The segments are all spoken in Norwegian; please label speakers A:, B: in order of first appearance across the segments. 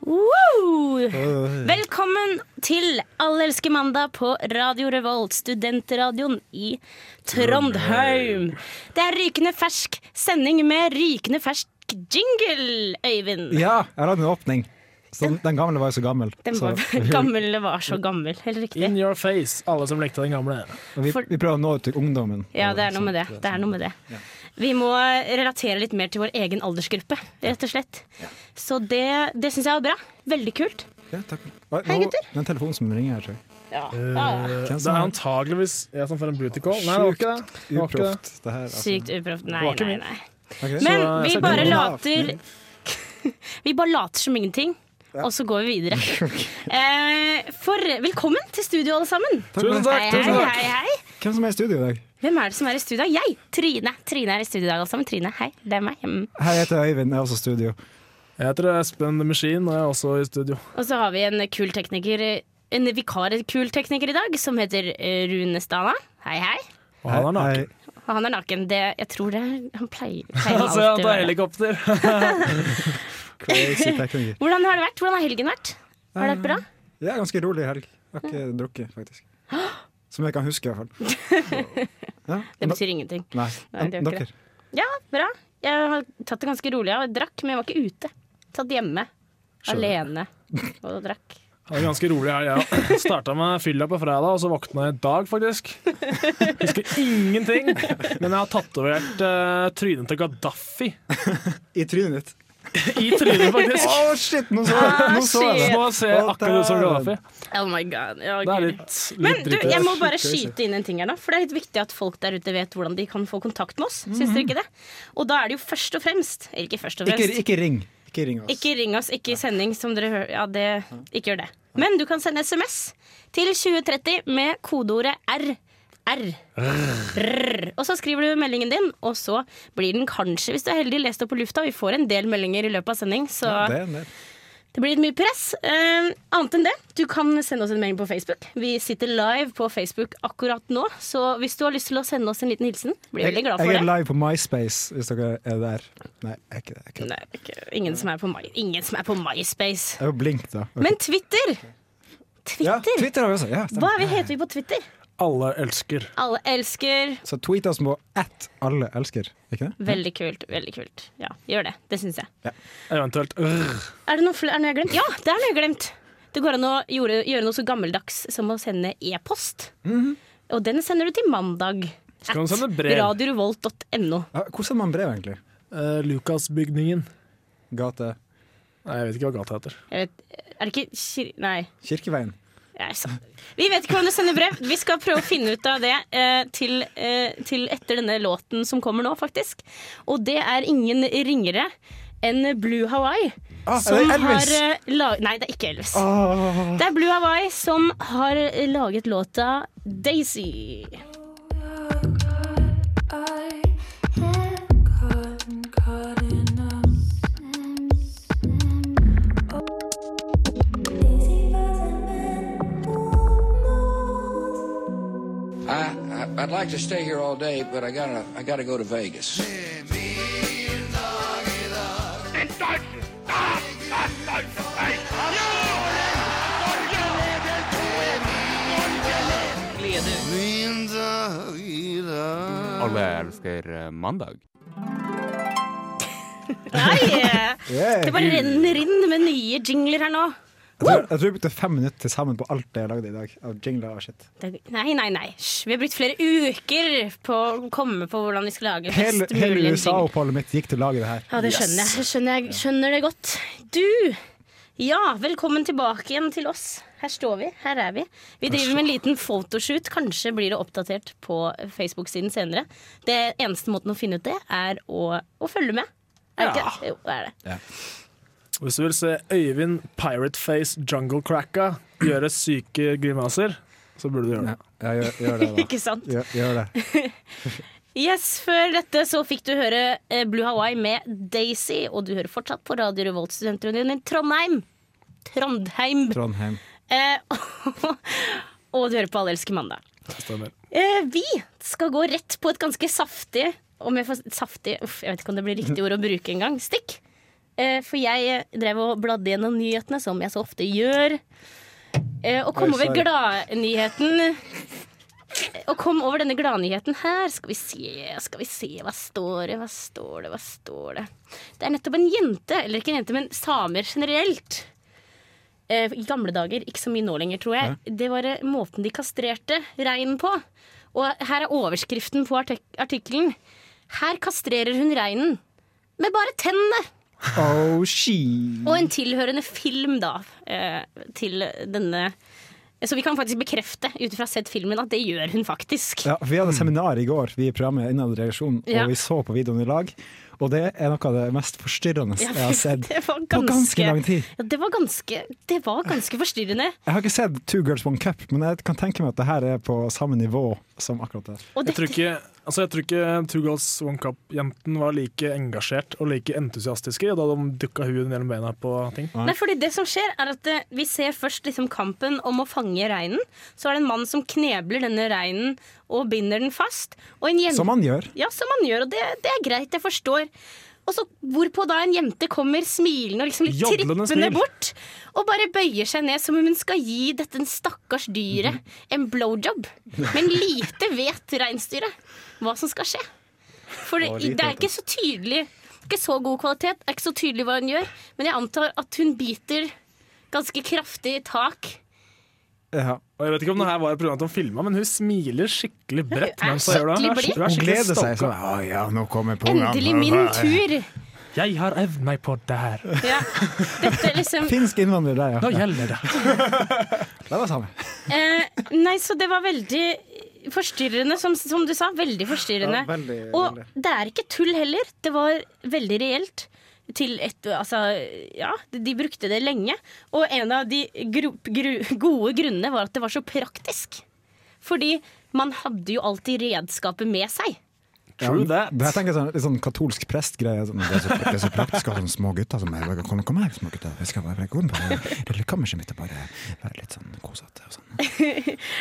A: Woo! Velkommen til Allelske mandag på Radio Revolt, studentradioen i Trondheim. Det er rykende fersk sending med rykende fersk jingle, Øyvind.
B: Ja, jeg hadde en åpning. Så den, den gamle var jo så gammel.
A: Den
B: så
A: var, gamle var så gammel, helt
C: In
A: riktig.
C: your face, alle som lekte den gamle.
B: vi,
A: for-
B: vi prøver å nå ut til ungdommen.
A: Ja, det er noe med det. det, er noe med det. Vi må relatere litt mer til vår egen aldersgruppe, rett og slett. Så det, det syns jeg var bra. Veldig kult.
B: Ja, takk. Hva-
A: Hei,
B: nå-
A: gutter.
B: Det er en telefon som ringer her, tror jeg.
A: Ja, ja, ja.
D: altså,
C: Eh,
B: Hvem
C: Det
B: som
C: er
B: er-
C: antageligvis jeg som får en booty call. Nei, det var ikke det. det, var ikke det.
B: Uproft, det her. altså.
A: Sykt uproft. Nei,
C: var ikke
A: nei,
C: min.
A: nei.
B: Ok.
A: Men
C: Så,
A: vi
C: så
A: bare
B: det-
A: later Vi bare later som ingenting, og så går vi videre. Eh, For velkommen til studio, alle sammen.
B: Takk for
C: Tusen
B: det.
C: takk!
A: Hei,
C: tusen
A: hei,
C: takk.
A: hei, hei.
B: Hvem som er i studio i dag?
A: Hvem er det som er i studio? Jeg! Trine. Trine er i studio i dag, alle sammen. Trine, hei. Det er meg. Mm.
B: Hei, jeg heter Øyvind, jeg er også i studio.
C: Jeg heter Espen The Machine, og jeg er også i studio.
A: Og så har vi en kul tekniker En vikarkul tekniker i dag, som heter eh, Rune Stana. Hei, hei.
C: Og han er
B: Hei.
C: naken.
A: Og han er naken. Det, jeg tror det Han pleier, pleier
C: Han ser
A: alltid
C: han
A: å
C: tar
A: være det.
C: helikopter.
B: Crazy tekniker.
A: Hvordan har det vært? Hvordan har helgen vært? Har det vært bra?
B: Ja, ganske rolig helg. Jeg har ikke drukket, faktisk. Som jeg kan huske, i hvert fall. Ja.
A: Det betyr ingenting.
B: Nei,
A: Nei, det gjør ikke
B: dere.
A: Ja, bra. Jeg har tatt det ganske rolig. Jeg drakk, men jeg var ikke ute. Satt hjemme. Alene og drakk.
C: Han er ganske rolig her, jeg ja. Starta med fylla på fredag, og så våkna jeg i dag, faktisk. Husker ingenting. Men jeg har tatovert eh, trynet til Gaddafi
B: I trynet ditt.
C: i trynet, faktisk.
B: Å, shit! Nå så jeg nå så
A: Ah,
B: jeg
A: shit.
B: det!
C: Nå ser jeg akkurat ut som Gaddafi.
A: Oh my god. Ja,
C: Det er
A: gud.
C: litt,
A: men
C: litt
A: du,
C: dritt.
A: jeg må
B: Det er
A: bare
B: sjukt crazy.
A: skyte inn en ting her nå. For det er litt viktig at folk der ute vet hvordan de kan få kontakt med oss. Syns dere ikke det? Og da er det jo først og fremst Eller ikke først og fremst.
B: Ikke, ikke ring. Ikke ring oss.
A: Ikke ring oss, ikke i sending som dere hører. Ja, det, ikke gjør det. Men du kan sende SMS til 2030 med kodeordet R. R. Rrr. Og så skriver du meldingen din, og så blir den kanskje, hvis du er heldig, lest opp på lufta. Vi får en del meldinger i løpet av sending, så
B: Ja, det
A: det.
B: er en del.
A: blir litt mye press. Eh, annet enn det, du kan sende oss en melding på Facebook. Vi sitter live på Facebook akkurat nå, så hvis du har lyst til å sende oss en liten hilsen, blir vi veldig glad for
B: Jeg er
A: det.
B: live på MySpace, hvis dere er der. Nei, jeg er ikke det. Jeg er, ikke det.
A: Nei, ikke- ingen som er på My- ingen som er på MySpace.
B: Jeg er jo blink, da. Ok.
A: Men Twitter! Twitter.
B: Ja, Twitter har vi også. Ja,
A: Hva
B: stemmer.
A: er vi, heter vi på Twitter?
C: Alle elsker.
A: Alle elsker.
B: Så tweet oss på at alle elsker, ikke det?
A: Veldig kult. veldig kult Ja, Gjør det. Det syns jeg.
C: Eventuelt rrr.
A: Er det noe, fl- er det noe jeg har glemt? Ja, det er noe jeg har glemt! Det går an å gjøre, gjøre noe så gammeldags som å sende e-post. Og den sender du til mandag.
C: Så kan du
A: at
C: sende brev.
A: radiorevolt.no.
B: Ja, Hvor sender man brev, egentlig?
C: Eh, Lukasbygningen.
B: Gate
C: Nei, jeg vet ikke hva gata heter.
A: Jeg vet- Er det ikke kir... Nei.
B: Kirkeveien.
A: Jeg sa- Vi vet ikke hvordan du sender brev. Vi skal prøve å finne ut av det eh, til, eh, til etter denne låten som kommer nå, faktisk. Og det er ingen ringere enn Blue Hawaii.
B: Ah,
A: som
B: er det Elvis? Ah.
A: Har, eh, la Nei, det er ikke Elvis.
B: Åh.
A: Det er Blue Hawaii som har eh, laget låta Daisy.
E: I, I I'd like to stay here all day, but I gotta I gotta go to Vegas.
F: Alle elsker eh, mandag.
A: Nei! eh,
B: Yeah.
A: Det bare renner inn med nye jingler her nå.
B: Jeg
A: uh,
B: tror, jeg tror jeg brukte fem minutter til sammen på alt det jeg lagde i dag. Av jingler og shit.
A: Det- Nei, nei, nei. Hysj, Vi har brukt flere uker på å komme på hvordan vi skal lage
B: Hele,
A: best
B: hele
A: mulig jingle.
B: USA-oppholdet mitt gikk til å lage det her.
A: Ja, det skjønner jeg. Skjønner, jeg. skjønner det godt. Du! Ja, velkommen tilbake igjen til oss. Her står vi. Her er vi. Vi driver med en liten photoshoot. Kanskje blir det oppdatert på Facebook-siden senere. Det eneste måten å finne ut det, er å, å følge med. Er det ikke? Jo, det er det.
C: Hvis du vil se Øyvind Pirateface Jungle Cracka gjøre syke grimaser, så burde du gjøre det.
B: Ja, ja, gjør, gjør det, da.
A: Ikke sant?
B: Gjør, gjør det.
A: Yes, Før dette så fikk du høre eh, Blue Hawaii med Daisy, og du hører fortsatt på Radio Revolt Studentunion i Trondheim. Trondheim.
B: Trondheim.
A: Eh, og du hører på Allelske mandag.
C: Stemmer.
A: Eh, vi skal gå rett på et ganske saftig om jeg får saftig, uff, jeg vet ikke om det blir riktig ord å bruke engang. Stikk. Eh, for jeg eh, drev og bladde gjennom nyhetene, som jeg så ofte gjør. Eh, og kom
B: Oi,
A: over
B: sorry.
A: gladnyheten. Eh, Og kom over denne gladnyheten her. Skal vi se, skal vi se. Hva står det, hva står det, hva står det? Det er nettopp en jente, eller ikke en jente, men samer generelt. Eh, I gamle dager, ikke så mye nå lenger, tror jeg. Det var eh, måten de kastrerte reinen på. Og her er overskriften på artik artikkelen. Her kastrerer hun reinen med bare tennene!
B: Oh, she.
A: Og en tilhørende film, da, eh, til denne Så vi kan faktisk bekrefte ut fra sett filmen at det gjør hun faktisk.
B: Ja, vi hadde seminar i går, vi i programmet Innad i redaksjonen,
A: Mm. Ja.
B: og vi så på videoen i lag. Og det er noe av det mest forstyrrende jeg har sett
A: det var
B: på ganske lang tid.
A: Ja, det var ganske, det var ganske forstyrrende.
B: Jeg har ikke sett Two Girls One Cup, men jeg kan tenke meg at det her er på samme nivå som akkurat det.
A: Og
C: Jeg tror
A: dette,
C: ikke, altså jeg tror ikke Two Girls One Cup-jenten var like engasjert og like entusiastiske da de dukka huet mellom beina på ting.
A: nei, fordi det som skjer er at eh, Vi ser først liksom kampen om å fange reinen. Så er det en mann som knebler denne reinen og binder den fast. Og en jente
B: Som man gjør.
A: Ja, som man gjør, og det, det er greit, jeg forstår. Og så Hvorpå da en jente kommer smilende og liksom litt
C: Jodlende
A: trippende
C: smil.
A: bort. Og bare bøyer seg ned som om hun skal gi dette en stakkars dyret en blowjob. Men lite vet reinsdyret hva som skal skje. For det, det er ikke så tydelig Ikke så god kvalitet, er ikke så tydelig hva hun gjør. Men jeg antar at hun biter ganske kraftig tak.
B: Ja.
C: Og jeg vet ikke om det her var et program at de filma, men hun smiler skikkelig bredt.
A: Hun er
C: mens hun gjør det. Hun er
A: skikkelig blid.
C: hun er
B: Hun
C: skikkelig
B: gleder seg
C: stolt.
B: sånn. Å ja, nå kommer programmet.
A: Endelig min tur!
C: Jeg har evnet meg på det her.
A: Ja. Dette er liksom
B: Finsk innvandrer der, ja.
C: Nå gjelder det.
B: Det var samme.
A: Eh, nei, så det var veldig forstyrrende, som, som du sa. Veldig forstyrrende.
B: Ja, veldig,
A: og
B: veldig.
A: det er ikke tull heller. Det var veldig reelt. Til et, altså, ja, de brukte det lenge. Og en av de gro gru gode grunnene var at det var så praktisk. Fordi man hadde jo alltid redskapet med seg.
C: True that.
B: Det her tenker jeg sånn, litt sånn katolsk prestgreie. Sånn. Det, er så- det er så praktisk å ha sånne små gutter som er Kom, kom her, små gutter. Vi skal bare gå inn på det lille kammerset mitt og bare være litt sånn kosete og sånn.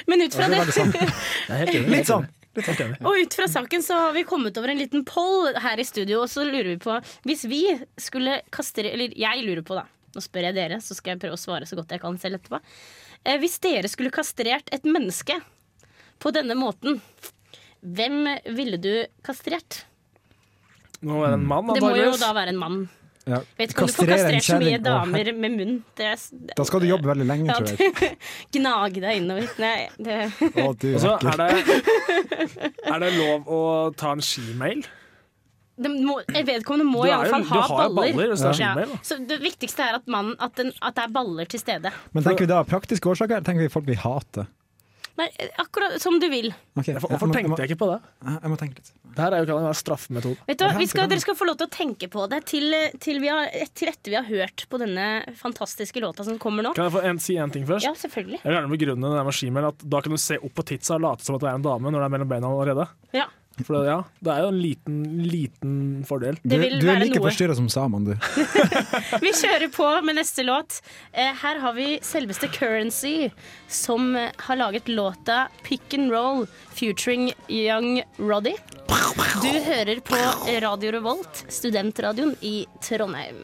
A: Men ut fra det,
B: Litt sånn!
A: og ut fra saken så har vi kommet over en liten poll her i studio, og så lurer vi på Hvis vi skulle kastere Eller jeg lurer på, da. Nå spør jeg dere, så skal jeg prøve å svare så godt jeg kan selv etterpå. Eh, hvis dere skulle kastrert et menneske på denne måten, hvem ville du kastrert?
C: Det må være en mann,
A: Det må jo
C: antakeligvis.
A: da være en mann.
B: Ja.
A: Vet ikke om du får
B: Kastrere en
A: kastrert så mye
B: kjerring. Å,
A: damer med munn. Det er,
B: Da skal du jobbe veldig lenge,
A: ja,
B: tror jeg.
A: det, gnage deg innover. Nei, det
B: Å, du,
C: Og så
B: er
C: er det, er det lov å ta en skimail?
A: Det må, vedkommende må
C: Du
A: i
C: er
A: alle
C: jo-
A: fall
C: du
A: ha
C: har jo
A: baller.
C: baller, hvis det er skinnbein, da.
A: Så det viktigste er at, mannen, at, den, at det er baller til stede.
B: Men tenker vi da praktiske årsaker, eller tenker vi folk vi hater?
A: Nei, akkurat som du vil.
B: Okay.
C: Hvorfor hvorfor tenkte jeg ikke på det?
B: jeg Jeg må tenke litt.
C: Det her er jo kan jo være straffemetode.
A: Vet du hva? Vi
B: Ja, det
A: skal,
B: kan
A: dere skal få lov til å tenke på det til, til, vi har, til etter vi har hørt på denne fantastiske låta som kommer nå.
C: Kan jeg få en, si en ting først?
A: Ja, selvfølgelig.
C: Jeg vil gjerne begrunne det der med skimail at da kan du se opp på titsa og late som at det er en dame når det er mellom beina allerede.
A: Ja.
C: For det, ja, det er jo en liten, liten fordel.
B: Du,
A: Det vil
B: du er
A: være
B: like
A: noe.
B: forstyrra som samene, du.
A: Vi kjører på med neste låt. Eh, her har vi selveste Currency, som eh, har laget låta Pick and Roll featuring Young Roddy. Du hører på Radio Revolt, studentradioen i Trondheim.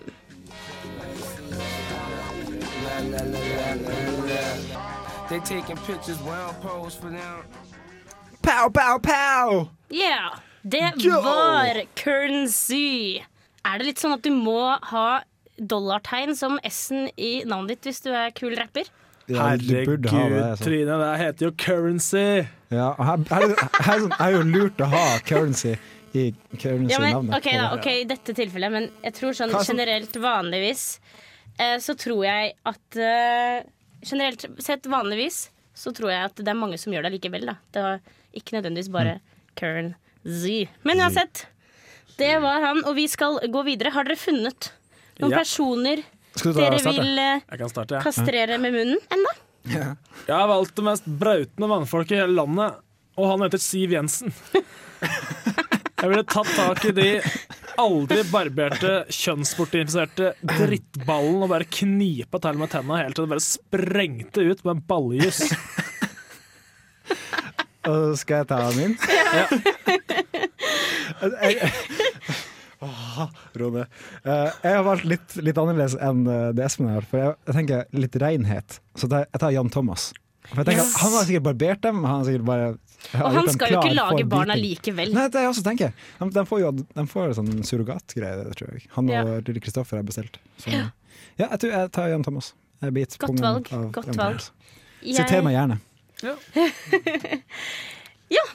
G: They taking pictures while I pose for them.
B: Pow, pow, pow!
A: Yeah, det var currency. Er det litt sånn at du må ha dollartegn som S-en i navnet ditt hvis du er kul rapper?
B: Ja, du
C: Herregud,
B: burde ha det. altså.
C: Trine, det heter jo currency!
B: Ja, og her, her, er det- her er det sånn- er jo lurt å ha currency i
A: Ja, men,
B: currency-navnet.
A: ok, da, ok, i dette tilfellet, men jeg tror sånn
B: Hva som-
A: generelt vanligvis eh, så tror jeg at eh, Generelt sett vanligvis så tror jeg at det er mange som gjør det likevel, da. Det var ikke nødvendigvis bare currency. Men uansett, det var han, og vi skal gå videre. Har dere funnet noen
C: Ja.
A: personer
B: Skal du ta
A: Dere
B: starte?
A: vil eh,
D: Jeg kan starte, jeg.
A: kastrere med munnen ennå?
D: Jeg har valgt det mest brautende mannfolket i hele landet, og han heter Siv Jensen. Jeg ville tatt tak i de aldri barberte, kjønnsbortinfiserte drittballen og bare knipa til med tenna helt til det bare sprengte ut med en ballejus.
B: Og skal jeg ta min?
D: Ja.
B: Jeg- Åh, Rode. Eh, Jeg har valgt litt, litt annerledes enn eh, det Espen har. For jeg, jeg tenker litt renhet. Så da- jeg tar Jan Thomas. For jeg tenker,
A: Yes.
B: Han har sikkert barbert dem. men Han har sikkert bare har
A: Og
B: gjort
A: han
B: dem
A: skal jo ikke
B: sånn klar for
A: lage barna
B: biting.
A: likevel.
B: Nei, det er jeg også tenker. De, de får jo de får sånn surrogatgreie, det tror jeg. Han og
A: Ja.
B: lille Kristoffer har bestilt. Så, ja, jeg tror jeg tar Jan Thomas. Jeg biter
A: Godt
B: pungen
A: valg,
B: av
A: godt
B: Jan
A: valg.
B: Thomas. Siter meg
A: Jeg,
B: gjerne.
A: ja,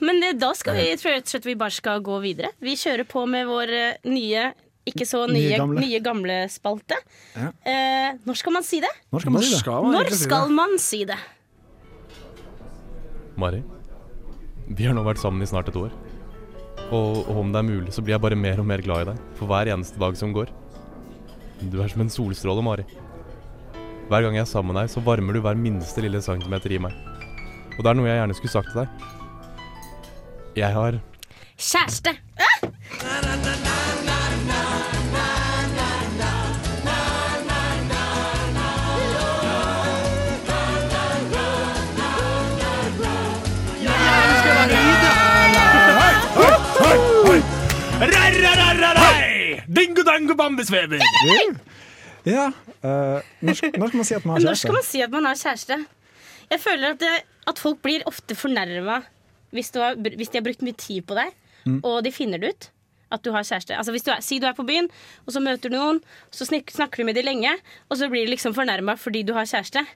A: men det, da skal vi, jeg tror rett og slett vi bare skal gå videre. Vi kjører på med vår eh, nye, ikke så nye,
B: Nye
A: nye
B: gamle.
A: gamle, spalte.
B: Ja.
A: Eh, når skal man si det?
B: Når skal man si det?
D: man
A: Når
D: egentlig si det?
A: skal man si det?
H: Mari, vi har nå vært sammen i snart et år. Og, og om det er mulig, så blir jeg bare mer og mer glad i deg for hver eneste dag som går. Du er som en solstråle, Mari. Hver gang jeg er sammen med deg, så varmer du hver minste lille centimeter i meg. Og det er noe jeg gjerne skulle sagt til deg. Jeg har
A: Kjæreste!
D: Rararararai! Dingo dango bambusveber!
B: Ja. eh, når, sk- når skal man si at man har
A: Når skal
B: kjæreste?
A: man si at man har kjæreste? Jeg føler at, det, at folk blir ofte fornærma hvis, du har br- hvis de har brukt mye tid på deg, og de finner det ut. At du har kjæreste. Altså hvis du er, Si du er på byen, og så møter du noen, så snak, snakker du med de lenge, og så blir de liksom fornærma fordi du har kjæreste.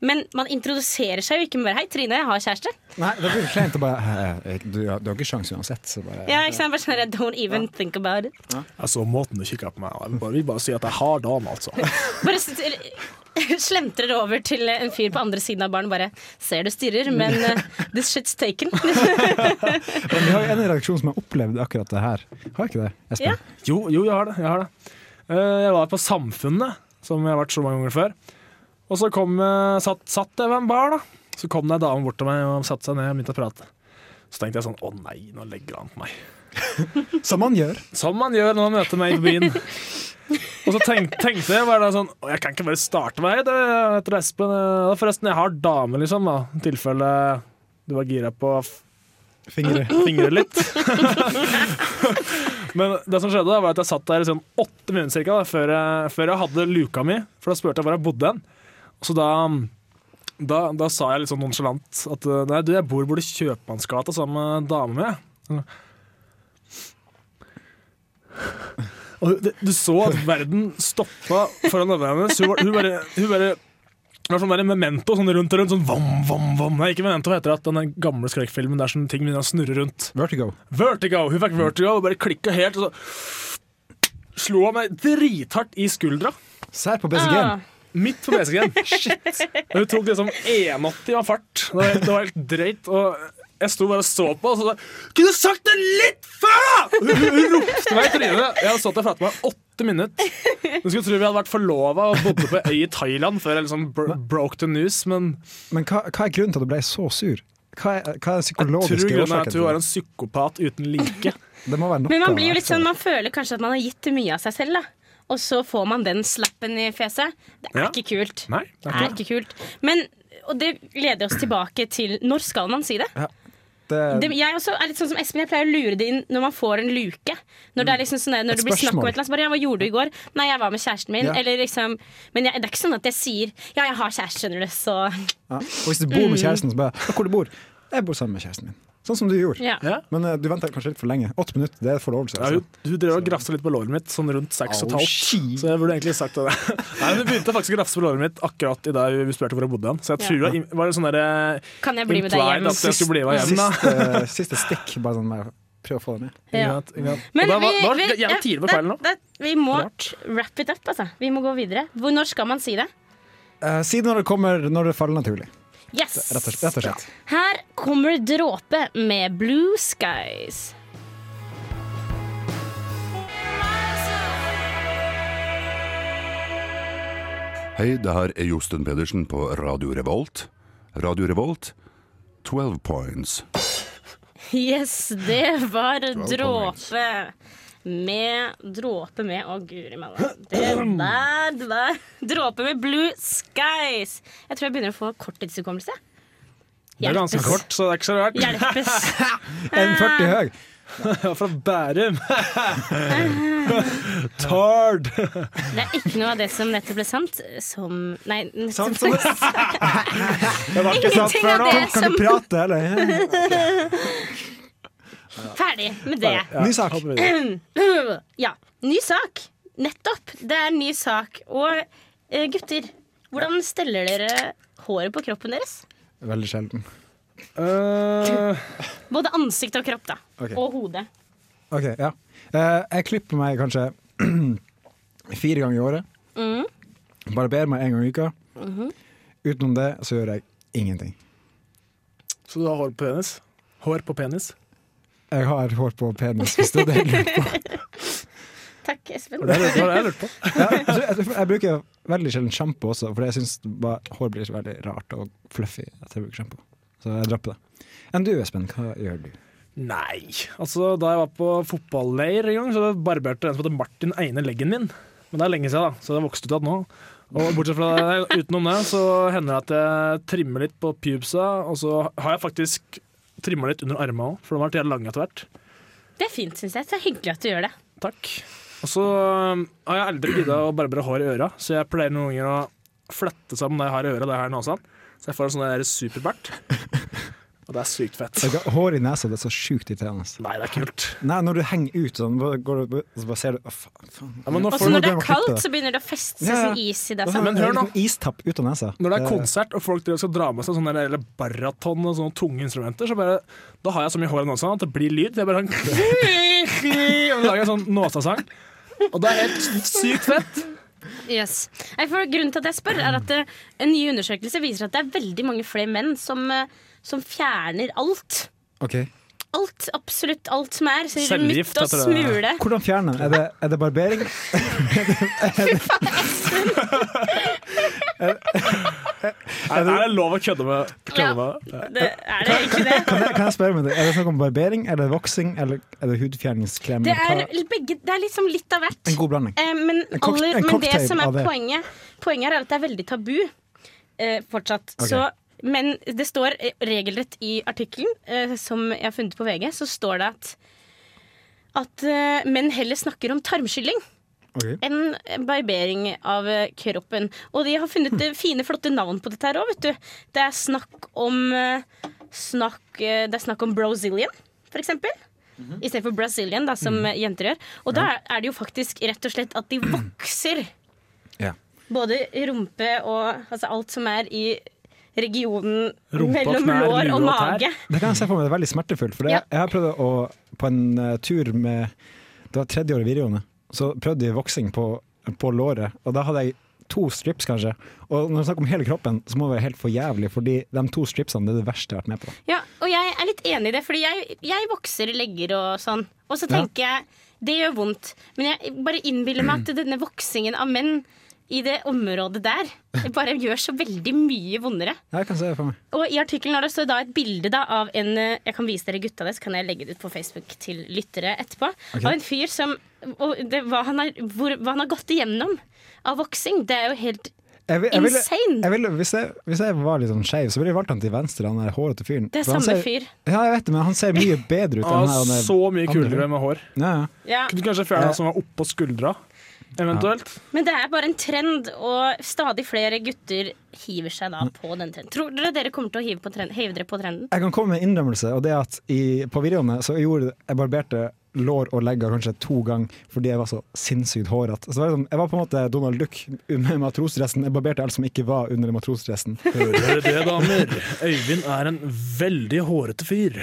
A: Men man introduserer seg jo ikke med bare 'Hei, Trine, jeg har kjæreste'.
B: Nei, det blir kleint å bare eh, jeg- du, har- du har ikke sjans uansett. Så bare,
A: Ja, ikke sant? Bare sånn, der, Don't even think about it.
D: Altså, måten du kikker på meg på, jeg vil bare si at jeg har dame, altså.
A: Bare s- slentrer over til en fyr på andre siden av baren bare 'Ser du stirrer, men eh, this shit's taken'.
B: Men vi har jo en i redaksjonen som har opplevd akkurat det her. Har jeg ikke det, Espen?
A: Ja.
D: Jo, jo, jeg har det. Jeg, har det. Eh, jeg var på Samfunnet, som jeg har vært så mange ganger før. Og så kom, eh, satt, satt jeg ved en bar, da. Så kom det ei dame bort til meg og satte seg ned og begynte å prate. Så tenkte jeg sånn Å nei, nå legger han på meg.
B: Som man gjør.
D: Som man gjør når man møter meg på byen. Og så tenk, tenkte jeg bare da sånn «Å, Jeg kan ikke bare starte meg det, etter Espen. eh, Forresten, jeg har dame, liksom, da. I tilfelle du var gira på å
B: Fingre.
D: fingre litt. Men det som skjedde da, var at jeg satt der i sånn åtte minutter cirka, da, før, jeg, før jeg hadde luka mi, for da spurte jeg hvor jeg bodde hen. Og Så da, da, da sa jeg litt sånn nonchalant at nei, du, jeg bor borti Kjøpmannsgata sammen med dama mi. Og det, du så at verden stoppa foran øynene hennes. Hun, var- hun bare, hun bare det var sånn der memento sånn rundt og rundt. Sånn vom, vom, vom. Nei, ikke memento, hva heter det at den gamle skrekkfilmen der som ting begynner å snurre rundt.
B: Vertigo.
D: Vertigo! Hun fikk vertigo og bare klikka helt, og så slo hun meg drithardt i skuldra.
B: Sær på
A: Ah.
B: BCG-en.
D: Midt på BCG-en. Og hun tok liksom 81 av fart. Det var, helt- det var helt drøyt. Og jeg sto bare og så på, og så sa jeg, Kunne du sagt det litt før?! da?! Hun, hun ropte meg i trynet. Jeg hadde stått der flate meg i åtte minutter. Du skulle tro vi hadde vært forlova og bodde på ei øy i Thailand før jeg liksom bro broke the news, men
B: Men hva, hva er grunnen til at du ble så sur? Hva er, hva er den
D: tror
B: psykologiske
D: grunnen er
B: årsaken?
D: at hun er en psykopat uten like.
B: Det må være noe. altså.
A: Men man blir jo litt sånn, man føler kanskje at man har gitt mye av seg selv, da. Og så får man den slappen i fjeset. Det er
D: Ja.
A: ikke kult.
D: Nei,
A: Det er ikke kult. Men, og det leder oss tilbake til når skal man si det?
B: det,
A: det jeg også er litt sånn som Espen, jeg pleier å lure det inn når man får en luke. Når det er liksom sånn der, når
B: Et
A: det blir snakk om
B: spørsmål.
A: et eller annet. så Bare, ja, 'Hva gjorde du i går?' 'Nei, jeg var med kjæresten min.'
B: Ja.
A: Eller liksom, men jeg, det er ikke sånn at jeg sier 'ja, jeg har kjæreste', skjønner du, så
B: ja. Og hvis du bor
A: Mm.
B: med kjæresten, så bare «Ja, Hvor du bor? Jeg bor sammen med kjæresten min. Sånn som du gjorde.
A: ja.
D: Ja.
B: Men eh, du venter kanskje litt for lenge. Åtte minutter, det er forlovelse. altså.
D: Ja, hun, hun drev og grafsa litt på låret mitt, sånn rundt seks og et
B: Au,
D: halvt.
B: shit.
D: Så jeg burde egentlig sagt det. Nei, Hun begynte faktisk å grafse på låret mitt akkurat i dag vi spurte hvor jeg bodde. hen. Så jeg tror det var en sånn der,
A: Kan jeg bli med deg
D: Implied
A: hjem?
D: at jeg skulle bli med hjem. da.
B: Siste, siste stikk, bare sånn med å prøve å få det med.
A: Ja.
D: Ikke sant, ikke sant.
A: Men
D: Og da
A: vi,
D: var, da var
A: vi,
D: det
A: ja,
D: jævlig tidlig på
A: det-
D: kvelden nå.
A: det- Vi må wrap it up, altså. Vi må gå videre. Hvor, når skal man si det?
B: Eh, si det når det kommer, når det faller naturlig.
A: Yes!
B: Rett og, rett og slett.
A: Her kommer Dråpe med Blue Skies.
I: Hei, det her er Josten Pedersen på Radio Revolt. Radio Revolt, 12 points.
A: Yes, det var dråpe. Med dråpe med Å, guri malla. Det der var dråpe med Blue Skies. Jeg tror jeg begynner å få korttidshukommelse.
D: Det er ganske kort, så det er ikke så rart.
A: Hjelpes.
B: 1,40
A: Eh,
B: høy.
D: Jeg er fra Bærum. Tard.
A: Det er ikke noe av det som nettopp ble sant, som Nei, nettopp
B: Sant som det Det var ikke sant
A: Ingenting
B: før
A: av
B: nå.
A: det
B: Kan
A: som-
B: ikke prate, eller?
A: ferdig med det.
B: Ny sak.
D: hopper videre.
A: Ja. Ny sak. Nettopp. Det er ny sak. Og eh, gutter, hvordan steller dere håret på kroppen deres?
B: Veldig sjelden.
D: Eh,
A: Både ansikt og kropp, da.
B: Ok.
A: Og hode.
B: Ok, ja. Eh, jeg klipper meg kanskje fire ganger i året.
A: Mm.
B: Barberer meg én gang i uka.
A: Mm-hmm.
B: Utenom det så gjør jeg ingenting.
D: så du har hår på penis? Hår på penis?
B: Jeg har hår på penis, hvis det er det du lurer på.
A: Takk, Espen.
D: Det er det jeg lurte på.
B: Ja, altså, jeg, jeg bruker veldig sjelden sjampo også, for jeg syns hår blir så veldig rart og fluffy etter jeg bruker sjampo. Så jeg dropper det. Enn du, Espen, hva gjør du?
D: Nei. Altså, da jeg var på fotballeir en gang, så barberte en som heter Martin Eine leggen min. Men det er lenge siden, da, så det har vokst ut igjen nå. Og bortsett fra det, utenom det, så hender det at jeg trimmer litt på pubesa, og så har jeg faktisk trimma litt under armene òg, for de har vært jævlig lange etter hvert.
A: Det er fint, syns jeg. Så hyggelig at du gjør det.
D: Takk. Og så um, har jeg aldri gidda å barbere hår i øra, så jeg pleier noen ganger å flette sammen det jeg har i øra, det jeg har i nesa. Så jeg får en sånn der superbart. Og det er sykt fett.
B: Jeg har hår i nesa, det er så sjukt irriterende.
D: Nei, det er kult.
B: Nei, når du henger ut sånn, bare går du, så bare ser du Å, faen. faen.
D: Ja, men, nå
A: Og
D: får
A: så
D: du,
A: når det
B: glemme
A: er
B: å klippe
A: kaldt,
B: det.
A: så begynner det å feste
B: Ja, ja.
A: sånn is i deg.
B: Da får
A: Sånn.
D: Men hør
B: jeg
D: nå.
B: liksom Istapp ut av nesa. Eh,
D: når det er
B: Det-
D: konsert og folk driver og skal dra med seg sånne der- eller baraton og sånne tunge instrumenter, så bare, da har jeg så mye hår i nesa at det blir lyd. Jeg bare sånn, jeg lager en sånn nåsasang. Og det er helt sykt fett.
A: Yes. Nei, for grunnen til at jeg spør, er at eh, en ny undersøkelse viser at det er veldig mange flere menn som, eh, som fjerner alt.
B: Ok.
A: Alt, Absolutt alt som er. Så
D: Cellegift,
A: Cellegift, og
D: heter det.
A: smule.
B: Hvordan fjerne? Er det, er det barbering?
D: Er, er det lov å kødde med? Kødde med? Ja.
A: Det, er det ikke det?
B: Kan jeg, kan jeg spørre meg det? Er det snakk om barbering, er det voksing, eller er det hudfjerningsklem?
A: Det er,
B: Hva-
A: begge, det er liksom litt av hvert.
B: En god blanding.
A: Eh, men,
B: En cock-
A: aller,
B: en
A: men det
B: cocktail
A: som
B: av
A: er
B: det.
A: poenget Poenget her er at det er veldig tabu eh, fortsatt.
B: Ok.
A: Så, men det står eh, regelrett i artikkelen eh, som jeg har funnet på VG, så står det at at eh, menn heller snakker om tarmskylling
B: Ok.
A: enn barbering av eh, kroppen. Og de har funnet eh, fine, flotte navn på dette her òg, vet du. Det er snakk om eh, snakk, eh, Det er snakk om brozilian, for eksempel. Istedenfor brazilian, da, som eh, jenter gjør. Og da er- er det jo faktisk rett og slett at de vokser.
B: Ja.
A: Både rumpe og altså alt som er i regionen
D: Rumpa,
A: mellom
D: knær,
A: lår og
D: lue og tær.
A: mage.
B: Det kan jeg se for meg er veldig smertefullt. For det,
A: Ja.
B: jeg har prøvd å På en eh, tur med Det var tredje året i videregående. Så prøvde jeg voksing på, på låret, og da hadde jeg to strips, kanskje. Og når vi snakker om hele kroppen, så må det være helt for jævlig, fordi de to stripsene det er det verste jeg har vært med på.
A: Ja, og jeg er litt enig i det, fordi jeg, jeg vokser legger og sånn. Og så
B: Ja.
A: tenker jeg det gjør vondt, men jeg bare innbiller meg at denne voksingen av menn i det området der bare gjør så veldig mye vondere.
B: Jeg kan se det for meg.
A: Og i artikkelen har det så da et bilde da av en eh, Jeg kan vise dere gutta det, så kan jeg legge det ut på Facebook til lyttere etterpå. Av en fyr som og det, hva, han har, hvor, hva han har gått igjennom av voksing. Det er jo helt
B: Jeg, vil- jeg ville-
A: Insane!
B: jeg ville- hvis, jeg, hvis jeg var litt sånn skeiv, så ville jeg valgt han til venstre, han der hårete fyren.
A: Det er
B: For han
A: samme
B: ser-
A: fyr.
B: Ja, jeg vet det, men han ser mye bedre ut enn
D: Og
B: han der-
D: Ah, så mye
B: andre fyren.
D: kulere med hår.
B: Ja, ja.
A: ja.
D: Kunne du kanskje fjerne den som var oppå skuldra, eventuelt?
A: Men det er bare en trend, og stadig flere gutter hiver seg da på den trenden. Tror dere dere kommer til å hive, på trend, hive dere på trenden?
B: Jeg kan komme med en innrømmelse, og det er at i, på videoene så gjorde jeg barberte lår og legger kanskje to ganger fordi jeg var så sinnssykt hårete. Så det var liksom, jeg var på en måte Donald Duck med matrosdressen. Jeg barberte alt som ikke var under matrosdressen.
D: Hører dere det, damer? Øyvind er en veldig hårete fyr.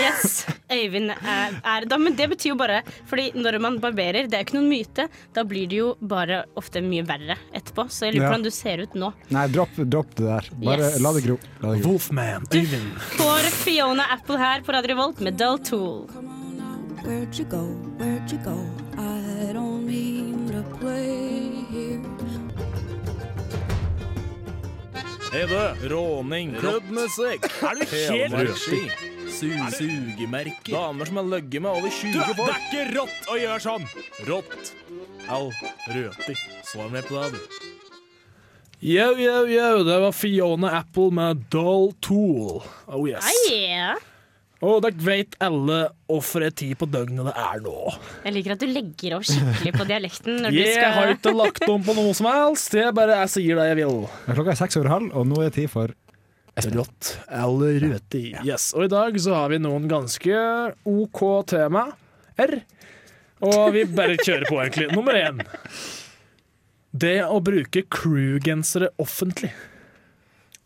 A: Yes, Øyvind er, er da, Men det betyr jo bare Fordi når man barberer, det er jo ikke noen myte, da blir det jo bare ofte mye verre etterpå. Så jeg lurer på
B: Ja.
A: hvordan du ser ut nå.
B: Nei, dropp, dropp det der. Bare
A: Yes.
B: la det gro. La det gro.
D: Wolfman, Øyvind.
A: Får Fiona Apple her på Radio Revolt med Dull Tool.
E: Where'd you go? Where'd you go? I don't mean to play here.
D: Hei, du. Råning. Klubbmusikk. Er du helt
J: Telemarkski.
D: Su Sugemerker. Damer som har ligget med over 20
J: Du,
D: folk.
J: det er
D: ikke rått å gjøre sånn! Rått. Au. Røti. Svar meg på det, du. Yo, yo, yo. Det var Fiona Apple med Doll Tool. Oh yes.
A: Hei.
D: Og dere vet alle hvorfor en tid på døgnet det er nå.
A: Jeg liker at du legger over skikkelig på dialekten. Når
D: Jeg
A: du skal...
D: har ikke lagt om på noe som helst. Jeg bare jeg sier det jeg vil.
B: Klokka er seks over halv, og nå er det tid for
D: Rått eller røti. Yes, Og i dag så har vi noen ganske OK tema. R. Og vi bare kjører på, egentlig. Nummer én. Det å bruke crew-gensere offentlig.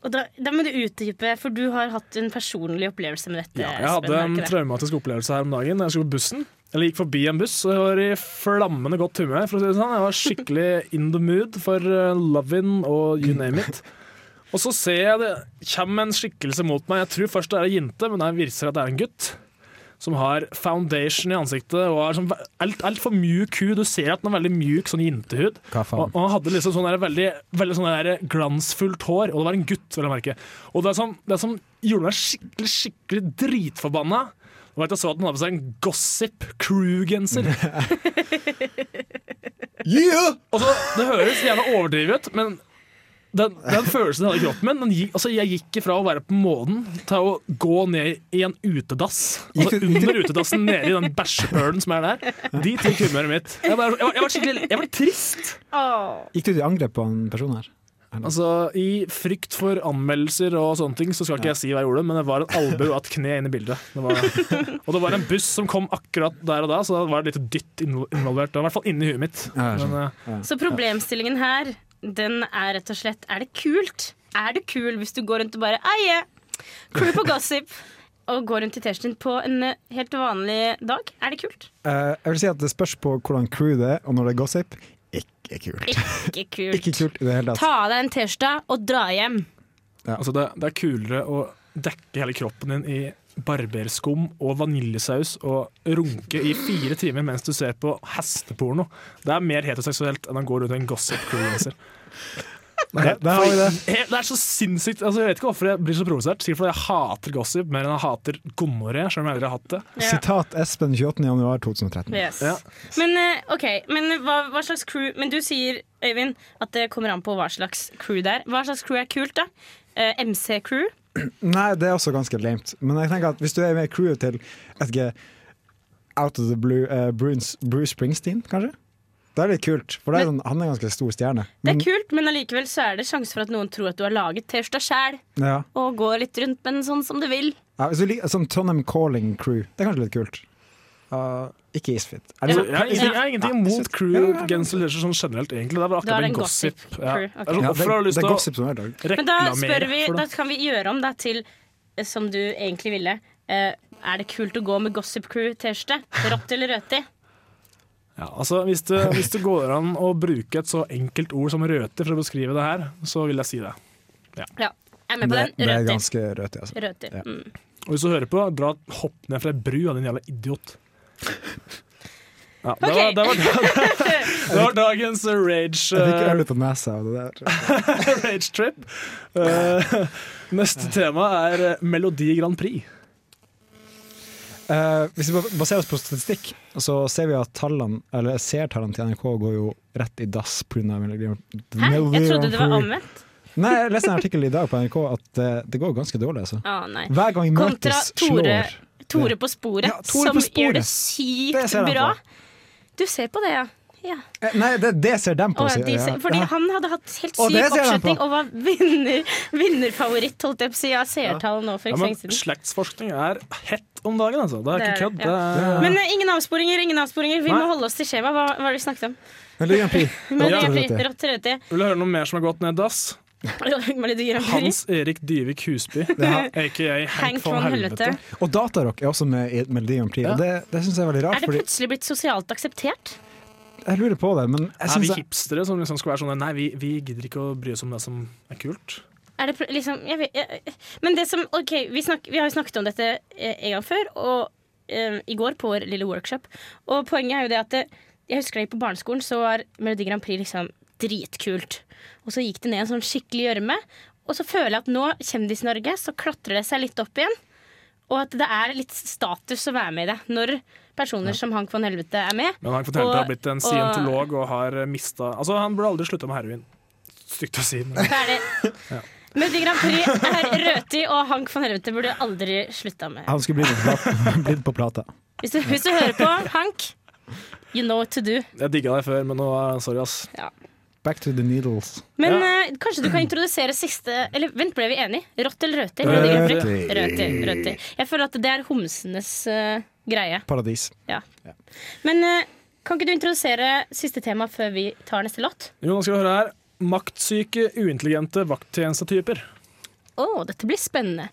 A: Og da, da må du utdype, for du har hatt en personlig opplevelse med dette.
D: Ja, jeg hadde en traumatisk opplevelse her om dagen da jeg skulle på bussen. Eller gikk forbi en buss, og jeg var i flammende godt humør. for å si det sånn. Jeg var skikkelig in the mood for uh, lovin' og you name it. Og så ser jeg det kommer en skikkelse mot meg. Jeg tror først det er ei jente, men det viser seg at det er en gutt. Som har foundation i ansiktet og er sånn ve- alt, alt for mjuk hud. Du ser at den er veldig mjuk, sånn jentehud.
B: Hva faen?
D: Og, og han hadde liksom sånn der veldig, veldig sånn der glansfullt hår, og det var en gutt, vil jeg merke. Og det som, det som gjorde meg skikkelig, skikkelig dritforbanna, var at jeg så at han hadde på seg en gossip crew-genser. yeah! Og så, Altså, det høres jævla overdrivet ut, men den, den følelsen jeg hadde i kroppen min den gikk, altså Jeg gikk ifra å være på månen til å gå ned i en utedass. Altså Under utedassen, nede i den bæsjepølen som er der. Dit gikk humøret mitt. Jeg, bare, jeg, var, jeg var skikkelig Jeg ble trist.
B: Gikk du til angrep på han personen her?
D: Altså, I frykt for anmeldelser og sånne ting, så skal ikke jeg si hva jeg gjorde, men det var en albue og et kne inn i bildet. Det var, og det var en buss som kom akkurat der og da, så det var litt dytt invo- involvert. Det var I hvert fall inni huet mitt.
B: Ja, jeg skjønner.
D: eh,
A: Så problemstillingen her, den er rett og slett Er det kult? Er det kul hvis du går rundt og bare Eie! Crew på gossip! Og går rundt i T-skjorten på en eh, helt vanlig dag. Er det kult?
B: Eh, jeg vil si at det spørs på hvordan crew det er, og når det er gossip. Ikke kult.
A: Ikke kult.
B: Ikke kult i det hele
A: Ta
B: tatt.
A: av deg en T-skjorte og dra hjem.
D: Altså det, det er kulere å dekke hele kroppen din i barberskum og vaniljesaus og runke i fire timer mens du ser på hesteporno. Det er mer heteroseksuelt enn å gå rundt i en gossip crew-genser.
B: Der, der har vi det.
D: Helt- Eh, Det er så sinnssykt altså, Jeg vet ikke hvorfor jeg blir så provosert. Sikkert fordi jeg hater gossip mer enn jeg hater gonoré. Selv om jeg aldri har hatt det.
B: Sitat Espen 28. januar 2013.
A: Yes.
D: Ja.
A: Men eh, ok, men hva, hva slags crew Men du sier, Øyvind, at det kommer an på hva slags crew det er. Hva slags crew er kult, da? Eh, MC-crew?
B: Nei, det er også ganske lamet. Men jeg tenker at hvis du er med i crewet til jeg vet ikke, Out of the Blue eh, Bruce, Bruce Springsteen, kanskje? Det er litt kult, for det er sånn, han er en ganske stor stjerne.
A: Det er kult, men allikevel så er det sjanse for at noen tror at du har laget T-skjorta sjæl,
B: Ja.
A: og går litt rundt med den sånn som du vil.
B: Ja, hvis du liker, sånn Trondheim Calling Crew, det er kanskje litt kult. Uh, ikke Isfit. Er det
D: Altså,
B: så-
D: jeg, har ingenting- jeg har ingenting
B: Nei,
D: imot crew-genser sånn generelt, egentlig. Det er bare
A: Da er
D: akkurat
A: det
D: en
A: en
D: gossip.
A: gossip
D: Ja.
A: crew,
D: Det
A: ok.
B: Ja,
D: er sånn,
B: det-
D: hvorfor har du lyst
B: det er
D: til å
B: gossip som er dag.
A: Men da spør
D: reklamere
A: vi,
D: for
A: da
D: det?
A: kan vi gjøre om det til eh, som du egentlig ville. Eh, er det kult å gå med Gossip Crew-T-skjorte? Rått eller røti?
D: Ja, altså hvis det, hvis det går an å bruke et så enkelt ord som røter for å beskrive det her, så vil jeg si det. Ja.
A: Ja, jeg er med på
B: det,
A: den.
B: det er
A: Røti.
B: ganske rødt, altså.
A: Røti.
B: Ja.
A: Mm.
D: Og hvis du hører på, dra hopp ned fra ei bru av din jævla idiot. Ja, det,
A: Ok.
D: var, det, var, det var dagens rage,
B: Jeg fikk
D: eh,
B: øl ut av nesa av det der.
D: rage trip. Eh, neste tema er eh, Melodi Grand Prix.
B: Eh, hvis vi baserer oss på statistikk, så ser vi at tallene, eller ser tallene til NRK går jo rett i dass pga.
A: Hæ? Jeg trodde det var omvendt.
B: Nei, jeg leste en artikkel i dag på NRK at eh, det går ganske dårlig. Altså.
A: Å, nei.
B: Hver gang
A: Kontra
B: Mertes
A: Tore,
B: slår
A: Tore på sporet,
B: Ja, Tore
A: som
B: på
A: gjør
B: sporet.
A: det
B: Det
A: sykt
B: ser jeg
A: bra.
B: på.
A: Du ser på det, ja. ja.
B: Eh, Nei, det, det ser dem på.
A: Å,
B: sier
A: de
B: jeg.
A: ser, fordi
B: Ja.
A: han hadde hatt helt
B: Å,
A: syk
B: det ser jeg
A: oppslutning
B: på.
A: og var vinner, vinnerfavoritt, holdt jeg på å si, av seertallet nå for
D: Ja,
A: ikke så
D: men
A: lenge siden.
D: slektsforskning er hett om dagen, altså. Det er
A: Det
D: ikke
A: er
D: kødd.
A: det, ja.
D: det er-
A: Men eh, ingen avsporinger, ingen avsporinger. Vi
D: Nei.
A: må holde oss til skjema. Hva, hva var det vi snakket om?
B: Melodi Grand Prix.
A: Melodi
D: Ja.
A: Grand Prix, Rått til rødti.
D: Vil du høre noe mer som har gått ned i dass?
A: Melodi Grand Prix.
D: Hans Erik Dyvik Husby,
B: Ja.
D: aka Hank von Helvete.
B: Og Datarock er også med i Melodi Grand Prix, og det, det syns jeg er veldig
A: Er
B: rart.
A: det
B: Fordi
A: plutselig blitt sosialt akseptert?
B: jeg lurer på det, men jeg
D: Er vi
B: syns jeg
D: hipstere som liksom skal være sånn Nei, vi, vi gidder ikke å bry oss om det som er kult.
A: Er det pl- liksom jeg vet, jeg, Men det som OK, vi, snak, vi har jo snakket om dette eh, en gang før, og eh, i går på vår lille workshop. Og poenget er jo det at det, jeg husker da jeg gikk på barneskolen, så var Melodi Grand Prix liksom dritkult. Og så gikk det ned en sånn skikkelig gjørme, Og så føler jeg at nå, Kjendis-Norge, så klatrer det seg litt opp igjen. Og at det er litt status å være med i det, når personer som Hank von Helvete er med.
D: Men han fortalte at han har blitt en
A: og-
D: scientolog og har mista Altså, han burde aldri slutta med heroin. Stygt å si, men
A: Ferdig. Melodi Grand Prix er rødtid, og Hank von Helvete burde aldri slutta med.
B: Han skulle blitt på plata. blitt på plata.
A: Hvis du, hvis du hører på, Hank, you know what to do.
D: Jeg digga deg før, men nå er sorry, ass.
A: Ja.
B: Back to the needles.
A: Men eh, kanskje du kan introdusere siste Eller vent, ble vi enige? Rått eller rødtid?
B: Rødtid.
A: Rødtid. Rødtid. Jeg føler at det er homsenes eh, greie.
B: Paradis.
A: Ja. Men eh, kan ikke du introdusere siste tema før vi tar neste låt?
D: Jo, nå skal vi høre her. Maktsyke, uintelligente vakttjenestetyper.
A: Å, dette blir spennende.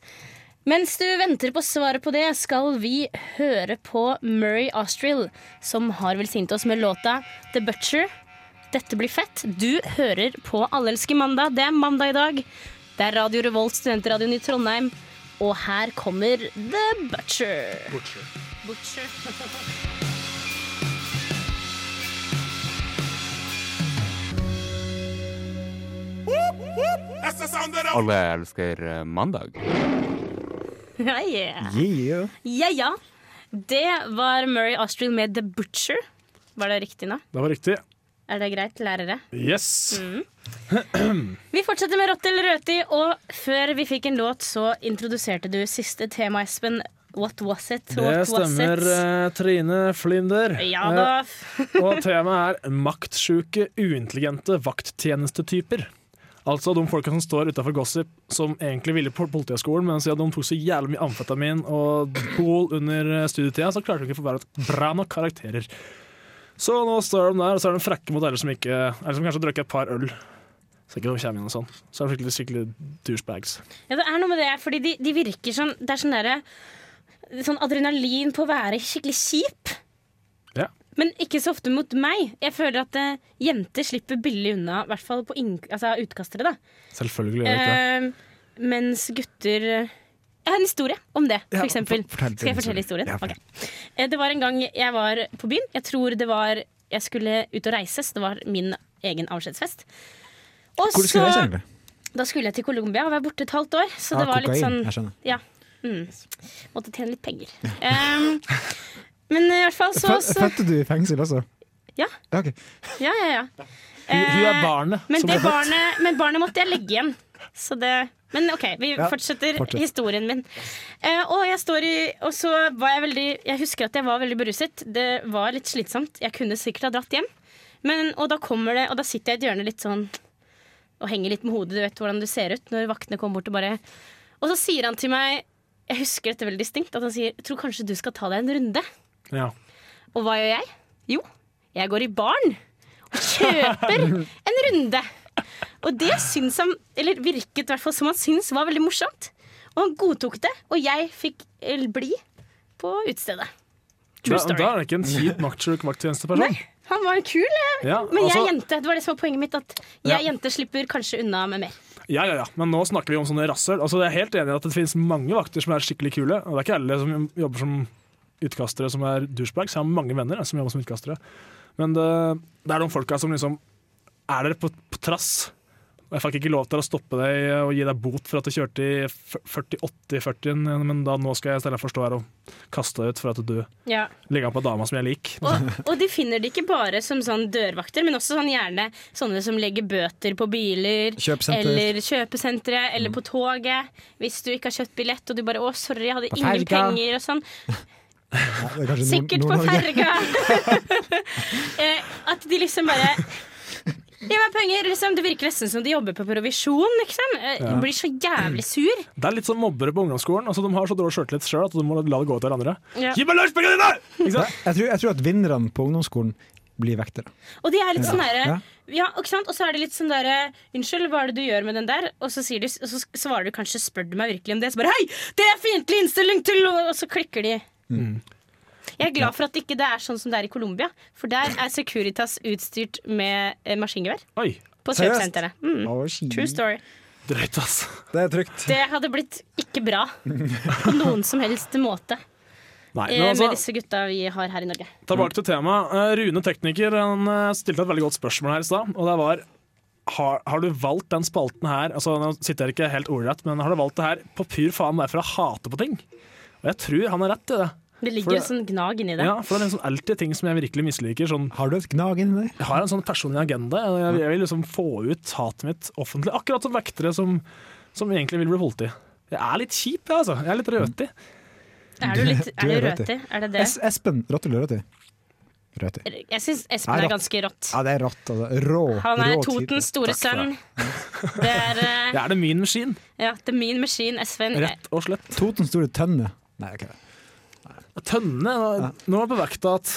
A: Mens du venter på svaret på det, skal vi høre på Murray Austrill, som har velsignet oss med låta The Butcher. Dette blir fett. Du hører på Allelske mandag. Det er mandag i dag. Det er Radio Revolt, studentradioen i Trondheim. Og her kommer The Butcher.
D: Butcher.
F: Alle elsker eh, mandag.
A: Ja, yeah.
B: Yeah.
A: ja, ja. Det var Murray Austrill med The Butcher. Var det riktig nå?
D: Det var riktig.
A: Er det greit, lærere?
D: Yes.
A: Mm. Vi fortsetter med Rått eller rødtid, og før vi fikk en låt, så introduserte du siste tema, Espen. What was it?
D: Det
A: What
D: stemmer,
A: Was it?
D: eh, Trine Flinder.
A: Ja da.
D: Eh, og temaet er maktsjuke, uintelligente vakttjenestetyper. Altså de folka som står utafor Gossip, som egentlig ville på Politihøgskolen, men siden de tok så jævlig mye amfetamin og bol under studietida, så klarte de ikke å få være bra nok karakterer. Så nå står de der, og så er de frekke mot alle som ikke Eller som kanskje har drukket et par øl. Så ikke de kommer inn og sånn. Så er de skikkelig, skikkelig douchebags.
A: Ja, det er noe med det, fordi de, de virker sånn Det er sånn derre Sånn adrenalin på å være skikkelig kjip.
D: Ja.
A: Men ikke så ofte mot meg. Jeg føler at eh, jenter slipper billig unna, i hvert fall på inn- altså, utkastere, da.
D: Selvfølgelig gjør de ikke det.
A: Eh, mens gutter Jeg har en historie om det,
D: Ja,
A: for eksempel.
D: for- fortell din
A: Skal jeg fortelle
D: historie.
A: historien?
D: Ja, fortell.
A: Ok. Eh, Det var en gang jeg var på byen. Jeg tror det var Jeg skulle ut og reise, så det var min egen avskjedsfest. Og
B: Hvor skulle du reise, egentlig?
A: Da skulle jeg til Colombia og være borte et halvt år. Så
B: Ah,
A: det var litt
B: kokain,
A: sånn
B: jeg skjønner.
A: Ja. Mm. Måtte tjene litt penger. Em, men i hvert fall så,
B: Fø-
A: så
B: Fødte du i fengsel også?
A: Ja.
B: Ja, ok.
A: Ja, ja, ja.
B: Hun- hun er
A: Eh,
B: barnet
A: Men,
B: som
A: det
B: ble født.
A: barnet, men barnet måtte jeg legge igjen. Så det, men OK, vi
J: Ja,
A: fortsetter
J: fortsett.
A: historien min. Eh, og, jeg står i, og så var jeg veldig Jeg husker at jeg var veldig beruset. Det var litt slitsomt. Jeg kunne sikkert ha dratt hjem. Men, og da kommer det, og da sitter jeg i et hjørne litt sånn og henger litt med hodet. Du vet hvordan du ser ut når vaktene kommer bort og bare Og så sier han til meg Jeg husker dette veldig distinkt. At han sier 'Jeg tror kanskje du skal ta deg en runde'.
D: Ja.
A: Og hva gjør jeg? Jo, jeg går i baren og kjøper en runde. Og det syns han, eller virket i hvert fall som han syntes var veldig morsomt. Og han godtok det, og jeg fikk eh, bli på utestedet. True
D: Da,
A: story.
D: da er det ikke en kjip maktsjuk vakttjenesteperson.
A: Han var kul, eh,
D: Ja,
A: men jeg
D: altså-
A: er jente. Det var det som var poenget mitt. At jeg
D: Ja.
A: jente slipper kanskje unna med mer.
D: Ja, ja, ja, men nå snakker vi om sånne rasshøl. Altså, jeg er helt enig i at det finnes mange vakter som er skikkelig kule. Og det er ikke alle som jobber som utkastere som er douchebags. Jeg har mange venner jeg, som jobber som utkastere. Men det, det er de folka som liksom Er dere på, på trass? Og Jeg fikk ikke lov til å stoppe deg og gi deg bot for at du kjørte i 40-80-40-en, men da nå skal jeg i stedet forstå her og kaste deg ut for at du
A: Ja.
D: legger an på dama som jeg liker.
A: Og, og de finner det ikke bare som sånn dørvakter, men også sånn gjerne sånne som legger bøter på biler.
D: Kjøpesenter.
A: Eller kjøpesentre, eller på toget. Hvis du ikke har kjøpt billett og du bare 'Å, sorry, jeg hadde
B: På
A: ingen
B: ferga.
A: penger', og sånn.
B: Ja, det er kanskje Nord-
A: Sikkert på
B: Nord-Norge.
A: ferga! Eh, At de liksom bare Gi meg penger! Liksom. Det virker nesten som de jobber på provisjon, liksom. Eh,
D: Ja.
A: Blir så jævlig sur.
D: Det er litt som mobbere på ungdomsskolen. Altså, de har så dårlig sjøltillit sjøl at de må la det gå til hverandre.
A: Ja.
D: Gi meg lunsjpengene dine! Ikke sant?
B: Jeg tror, jeg tror at vinnerne på ungdomsskolen blir vektere.
A: Og de er litt
B: Ja.
A: sånn derre
B: Ja.
A: ja, ikke sant? Og så er det litt sånn derre 'Unnskyld, hva er det du gjør med den der?' Og så, sier de, og så svarer du kanskje 'Spør du meg virkelig om det?' Så bare 'Hei, det er fiendtlig innstilling til lov!' Og så klikker de. Jeg er glad for at ikke det er sånn som det er i Colombia, for der er Securitas utstyrt med eh, maskingevær.
D: Oi.
A: På
B: Seriøst?
A: kjøpesenteret. Mm.
B: Å, shit.
A: True story.
D: Drøyt, ass.
B: Det er trygt.
A: Det hadde blitt ikke bra på noen som helst måte
D: Nei,
A: eh, med
D: men altså,
A: disse gutta vi har her i Norge.
D: tilbake til temaet. Eh, Rune tekniker han eh, stilte et veldig godt spørsmål her i stad, og det var har, har du valgt den spalten her Altså, Nå sitter jeg ikke helt ordrett, men har du valgt det her på pur faen bare for å hate på ting? Og jeg tror han har rett i det.
A: Det ligger jo
D: For det-
A: en sånn gnag inni det.
D: Ja, for det er liksom alltid ting som jeg virkelig misliker. Sånn,
B: har du et gnag inni deg?
D: Jeg har en sånn personlig agenda. Jeg, jeg vil liksom få ut hatet mitt offentlig. Akkurat som vektere som, som egentlig vil bli politi. Jeg er litt kjip, jeg, altså. Jeg er litt røtig.
A: Er du litt
B: Du
A: er du
B: rødt i.
A: røti? Er det det?
B: Es Espen, rått eller rødt? Rødt.
A: Jeg syns Espen
B: Nei,
A: er
B: rått.
A: ganske rått.
B: Ja, det er rått. Altså. Rå.
A: Han er
B: rå type.
A: Totens store sønn. Det er, eh,
D: Det er det min maskin.
A: ja, det er min maskin, Espen.
D: Rett og slett.
B: Totens store tønne. Nei, ok.
D: Tønne nå- Nå er jeg på vekta at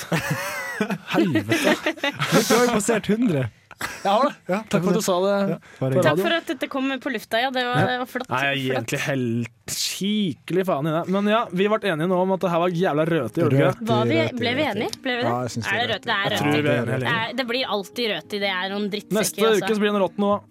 D: Helvete.
B: Du har jo passert 100.
D: Jeg har det. Takk for at du sa det på
A: Takk
D: radioen.
A: for at dette kom på lufta, ja. Det var, det var flott.
D: Nei, jeg gir egentlig helt skikkelig faen i det. Men ja, vi ble enige nå om at det her var jævla røte, gjorde vi ikke? det?
A: Var vi, ble vi enige? Ble vi det?
D: Ja, jeg synes det
A: er det
D: er
A: rødt? Det er
D: Jeg
A: rødt.
D: tror vi er enige,
A: det,
D: Helene.
A: er, Eh, det blir alltid rødt i det. er noen drittsekker.
D: Neste uke så blir det en rått nå,
A: altså.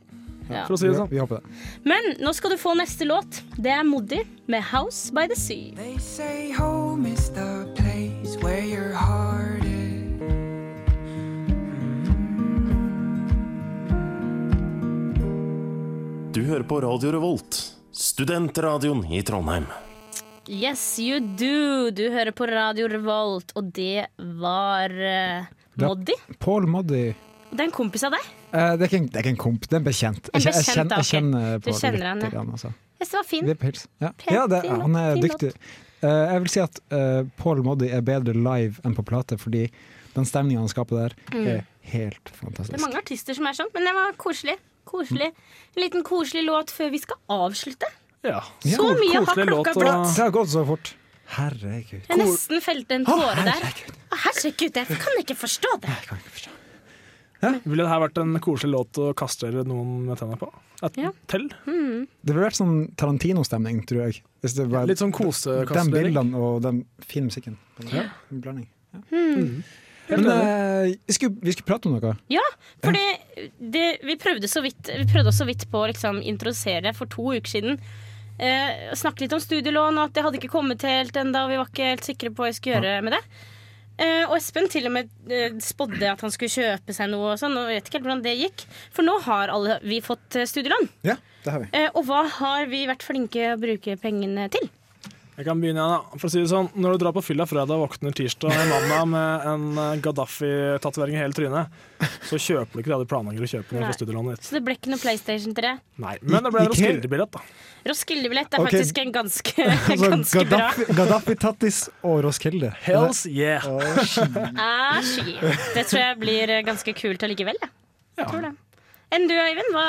A: Ja.
D: for å si det sånn.
B: Vi håper det.
A: Men nå skal du få neste låt. Det er Moddi med 'House by the Sea'.
G: They say home is the place where your heart is.
J: Du hører på Radio Revolt, studentradioen i Trondheim.
A: Yes, you do. Du hører på Radio Revolt, og det var eh,
B: Ja.
A: Moddi.
B: Paul Moddi.
A: Det er en kompis av deg.
B: Eh, det, er ikke en, det er ikke en komp, det er en bekjent.
A: En
B: Jeg kjen-
A: bekjent,
B: jeg
A: ok.
B: kjenner, jeg kjenner
A: Du
B: Paul
A: kjenner
B: lite
A: han, ja.
B: grann, altså.
A: Jeg synes det var fin.
B: Det er pils. Ja,
A: Pen-
B: ja det,
A: fin låt,
B: han er
A: fin
B: dyktig. Eh, jeg vil si at eh, Paul Moddi er bedre live enn på plate, fordi den stemninga han skaper der,
A: Mm.
B: er helt
A: Det er
B: fantastisk.
A: mange artister som er sånn, men det var koselig. Koselig. En liten koselig låt før vi skal avslutte.
D: Ja.
A: Så mye har klokka blitt.
B: Det har gått så fort. Herregud.
A: Jeg nesten felte en
B: Å,
A: tåre der. Å, Herregud, jeg kan ikke forstå det.
D: Ville det her vært en koselig låt å kaste noen med tenna på? Et tell?
A: Mm.
B: Det ville vært sånn Tarantino-stemning, tror jeg. Hvis det var
D: Litt sånn
B: De
D: kosekastering.
B: bildene og den fine musikken.
A: Ja.
B: En Blanding.
A: Mm.
B: Men eh, vi, skulle, vi skulle prate om noe.
A: Ja, for det, det, vi, prøvde så vidt, vi prøvde så vidt på å liksom, introdusere det for to uker siden. Eh, og snakke litt om studielån, og at det hadde ikke kommet helt ennå. Og vi var ikke helt sikre på hva vi skulle gjøre med det. Eh, og Espen til og med eh, spådde at han skulle kjøpe seg noe og sånn. Og jeg vet ikke helt hvordan det gikk. For nå har alle vi fått eh, studielån.
B: Ja, det har vi.
A: Eh, og hva har vi vært flinke å bruke pengene til?
D: Jeg kan begynne igjen, da. For å si det sånn, når du drar på fylla fredag og våkner tirsdag en mandag med en eh, Gaddafi-tatovering i hele trynet, så kjøper du ikke det du planlegger å kjøpe når du
A: Nei.
D: får studielånet ditt.
A: Så det ble ikke noe PlayStation til det.
D: Nei, Men det ble
B: I- Ikea-
D: en Roskilde-billett, da.
A: Roskilde-billett er
B: Ok.
A: faktisk en ganske,
B: Altså,
A: ganske bra.
B: Gaddafi, Gaddafi Tattis og Roskilde.
D: Hells yeah!
A: Æsj. Ah, Det tror jeg blir eh, ganske kult allikevel, jeg. Tror det. Enn du, Øyvind? Hva,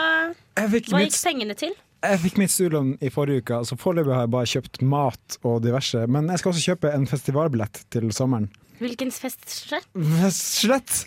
B: Jeg fikk
A: hva
B: mitt-
A: gikk pengene til?
B: Jeg fikk mitt studielån i forrige uke, så foreløpig har jeg bare kjøpt mat og diverse. Men jeg skal også kjøpe en festivalbillett til sommeren.
A: Hvilken fest skjer?
B: Mm. Slett!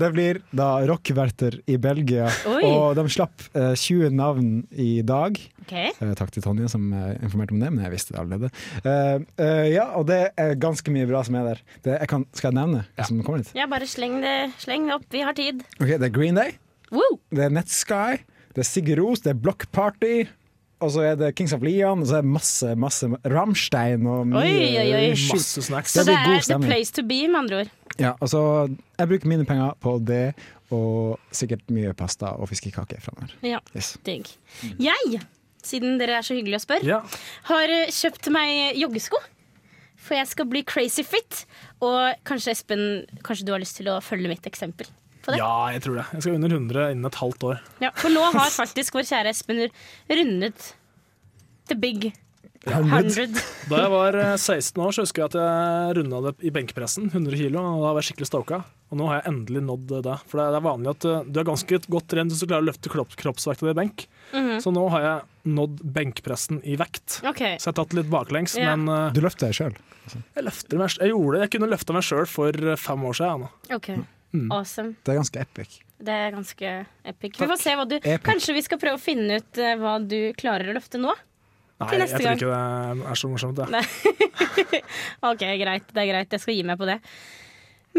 B: Det blir da rockverter i Belgia,
A: Oi.
B: og de slapp eh, 20 navn i dag.
A: Ok.
B: Eh, takk til Tonje som eh, informerte om det, men jeg visste det allerede. Eh, eh, ja, og det er ganske mye bra som er der. Det, jeg kan, skal jeg nevne hva som kommer dit?
A: Ja, bare sleng det, sleng det opp. Vi har tid.
B: Ok, Det er Green Day,
A: Woo!
B: det er Netsky, det er Sigurd Ros, det er Block Party. Og så er det Kings of Leon, og så er det masse masse Rammstein og mye
A: Oi, oi, oi.
B: shit.
D: Masse snacks.
A: Så
B: Det
A: det
B: blir god
A: er the
B: stemning.
A: place to be, med andre ord.
B: Ja, altså, jeg bruker mine penger på det, og sikkert mye pasta og fiskekake framover.
A: Ja,
B: Yes. Mm.
A: digg. Jeg, siden dere er så hyggelige å spørre,
B: Ja.
A: har eh, kjøpt meg joggesko. For jeg skal bli crazy fit. Og kanskje Espen, kanskje du har lyst til å følge mitt eksempel? på det?
D: Ja, jeg tror det. Jeg skal under 100 innen et halvt år.
A: Ja, for nå har faktisk vår kjære Espen rundet the big 100.
D: Da jeg var eh, 16 år, så husker jeg at jeg runda det i benkepressen. 100 kilo, og da var jeg skikkelig stoka. Og nå har jeg endelig nådd eh, det. For det er- det er vanlig at eh, du er ganske godt trent hvis du klarer å løfte kropp, kroppsvekta di i benk.
A: Mhm.
D: Så nå har jeg nådd benkpressen i vekt.
A: Ok.
D: Så jeg har tatt det litt baklengs,
A: Ja.
D: men eh,
B: Du løfter deg sjøl.
D: jeg løfter meg Jeg gjorde det. Jeg kunne løfta meg sjøl for eh, fem år siden. jeg, nå.
A: Ok, awesome.
B: Det er ganske epic.
A: Det er ganske epic. Vi får se hva du
D: Epic.
A: Kanskje vi skal prøve å finne ut eh, hva du klarer å løfte nå?
D: Nei,
A: Til
D: jeg
A: neste
D: tror
A: gang.
D: ikke det er så morsomt. Jeg.
A: Nei. OK, greit. Det er greit. Jeg skal gi meg på det.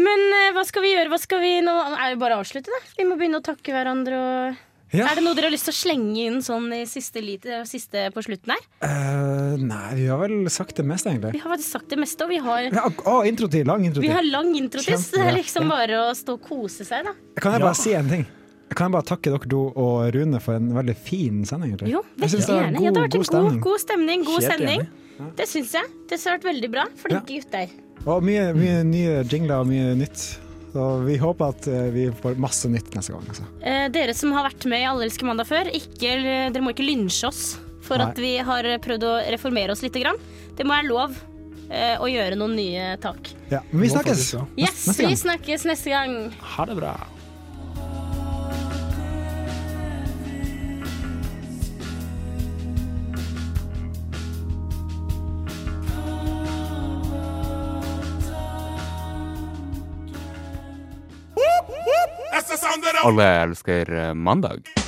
A: Men eh, hva skal vi gjøre? Hva skal vi nå er det bare å avslutte, da. Vi må begynne å takke hverandre og
B: Ja.
A: Er det noe dere har lyst til å slenge inn sånn i siste, lite, siste på slutten her?
B: Eh, nei, vi har vel sagt det meste,
A: Vi
B: egentlig.
A: har faktisk sagt det meste, og vi har
B: Ja, Å, introtid! Lang introtid.
A: Vi har lang introtid, så det er
B: Kjempebra.
A: liksom
B: Ja.
A: bare å stå og kose seg, da.
B: Kan jeg bare si en ting? Kan jeg bare takke dere to og Rune for en veldig fin sending? egentlig?
A: Jo,
B: Jeg synes
A: veldig
B: det var
A: gjerne. ja, det har vært en god, god stemning. God
B: Helt
A: sending.
B: enig.
A: Det syns jeg. Det har vært veldig bra. Flinke gutter.
B: Og mye, mye nye jingler og mye nytt. Så vi håper at eh, vi får masse nytt neste gang. Altså.
A: Eh, dere som har vært med i Alle elsker mandag før, ikke, dere må ikke lynsje oss for
B: Nei.
A: at vi har prøvd å reformere oss litt. Grann. Det må være lov eh, å gjøre noen nye tak.
B: Ja, men vi
D: Nå
B: snakkes!
D: faktisk, ja.
A: Yes, vi snakkes neste gang.
D: Ha det bra.
F: Alle elsker eh, mandag.